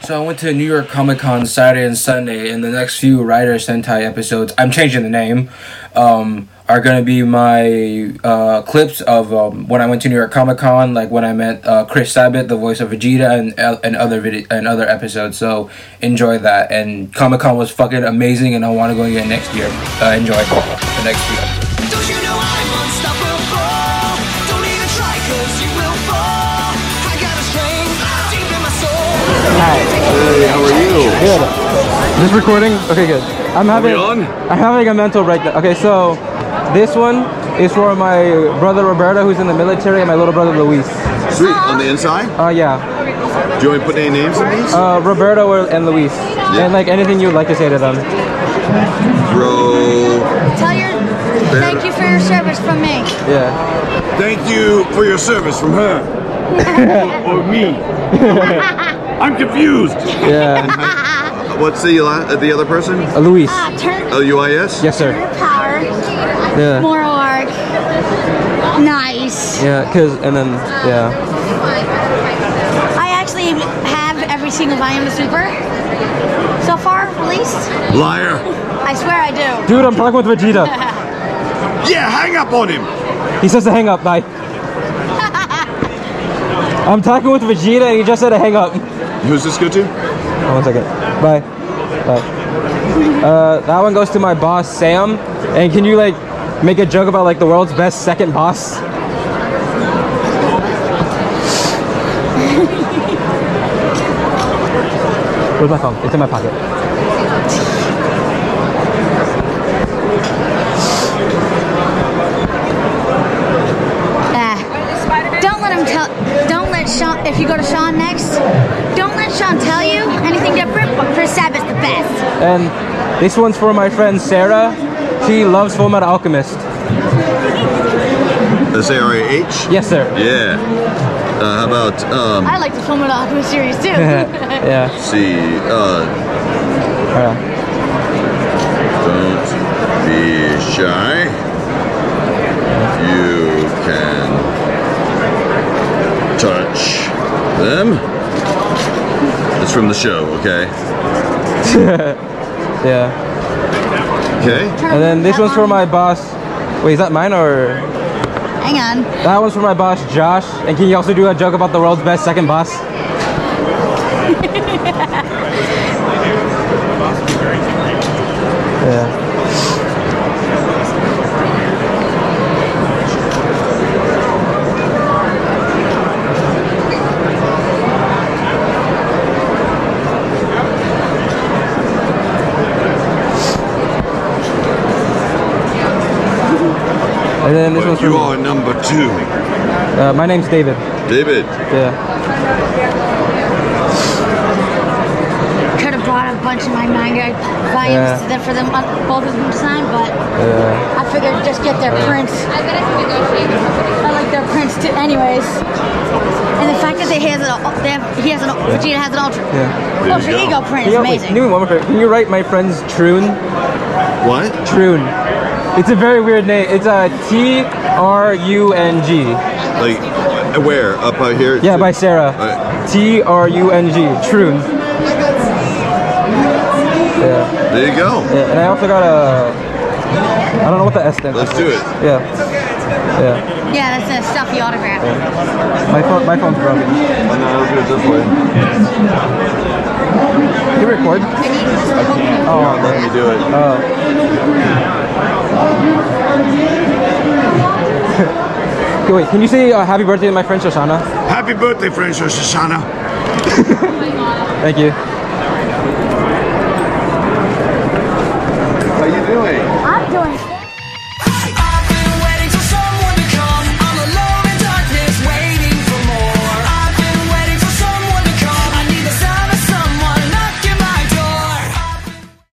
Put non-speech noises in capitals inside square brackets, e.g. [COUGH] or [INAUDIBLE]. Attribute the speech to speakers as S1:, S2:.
S1: So I went to New York Comic Con Saturday and Sunday, and the next few Rider Sentai episodes, I'm changing the name, um, are going to be my uh, clips of um, when I went to New York Comic Con, like when I met uh, Chris Sabat, the voice of Vegeta, and uh, and other video and other episodes. So enjoy that. And Comic Con was fucking amazing, and I want to go again next year. Uh, enjoy the next few episodes.
S2: Don't you know I'm unstoppable? Don't even try, cause you will fall. I got a strength deep in my soul.
S3: Good. This recording? Okay, good. I'm having I'm having a mental breakdown. Okay, so this one is for my brother Roberto who's in the military and my little brother Luis.
S4: Sweet. On the inside?
S3: Uh yeah.
S4: Do you want to put any names in these?
S3: Uh Roberto or- and Luis. And like anything you'd like to say to them.
S4: Bro.
S5: Tell your thank you for your service from me.
S3: Yeah.
S4: Thank you for your service from her. or me. I'm confused.
S3: Yeah.
S4: What's the la- the other person?
S3: Uh, Luis.
S5: Ah, turn
S4: L U I S?
S3: Yes sir.
S5: power,
S3: Yeah.
S5: moral arc, nice.
S3: Yeah, cuz and then yeah.
S5: I actually have every single volume of Super so far released.
S4: Liar.
S5: I swear I do.
S3: Dude, I'm talking with Vegeta.
S4: Yeah, hang up on him.
S3: He says to hang up. Bye. I'm talking with Vegeta and he just said to hang up.
S4: Who's this go to?
S3: Oh, one second. Bye. Bye. Uh, that one goes to my boss, Sam. And can you like make a joke about like the world's best second boss? Where's my phone? It's in my pocket.
S5: Ah. Don't let him tell. Don't let Sean. If you go to Sean next, don't let Sean tell you anything different. But Chris Sabbath's the best.
S3: And this one's for my friend Sarah. She loves Full Metal Alchemist.
S4: S A R A H?
S3: Yes, sir.
S4: Yeah. Uh, how about, um,
S5: I like the Full Metal Alchemist series too.
S3: yeah.
S4: let's see, uh,
S3: Uh,
S4: don't be shy. You can touch them. It's from the show, okay?
S3: yeah.
S4: Okay.
S3: [LAUGHS] And then this one's for my boss. Wait, is that mine or?
S5: Hang on.
S3: That one's for my boss, Josh. And can you also do a joke about the world's best second boss? yeah. And then this one's
S4: But
S3: for
S4: you
S3: me.
S4: are number two.
S3: Uh, my name's David.
S4: David.
S3: Yeah.
S5: Could have brought a bunch of my manga volumes
S3: Yeah.
S5: to them for them both of them to sign, but
S3: Yeah.
S5: I figured just get their prints. I bet I can negotiate. I like their prints too, anyways. And the fact that they has an, they have, he has an, Vegeta has an ultra,
S3: Yeah.
S4: There
S5: ultra
S4: you go.
S5: Oh, ego print
S3: Can
S5: is
S3: you, wait,
S5: amazing.
S3: can you do me one more favor? Can you write my friend's Troon?
S4: What?
S3: Troon. It's a very weird name. It's a T R U N G.
S4: Like, where? Up out here?
S3: Yeah, by Sarah.
S4: Alright.
S3: T R U N G. Troon. Yeah.
S4: There you go.
S3: yeah. And I also got a. I don't know what the S stands
S4: Let's
S3: for.
S4: do it.
S3: Yeah. Yeah.
S5: yeah, that's a stuffy autograph.
S3: My phone. My phone's broken. Can you record? Oh.
S4: Let me do it.
S3: Oh. Okay, Wait, can you say uh, happy birthday to my friend Shoshana?
S4: Happy birthday, French Shoshana.
S3: Thank you.
S4: How you doing?
S5: I'm doing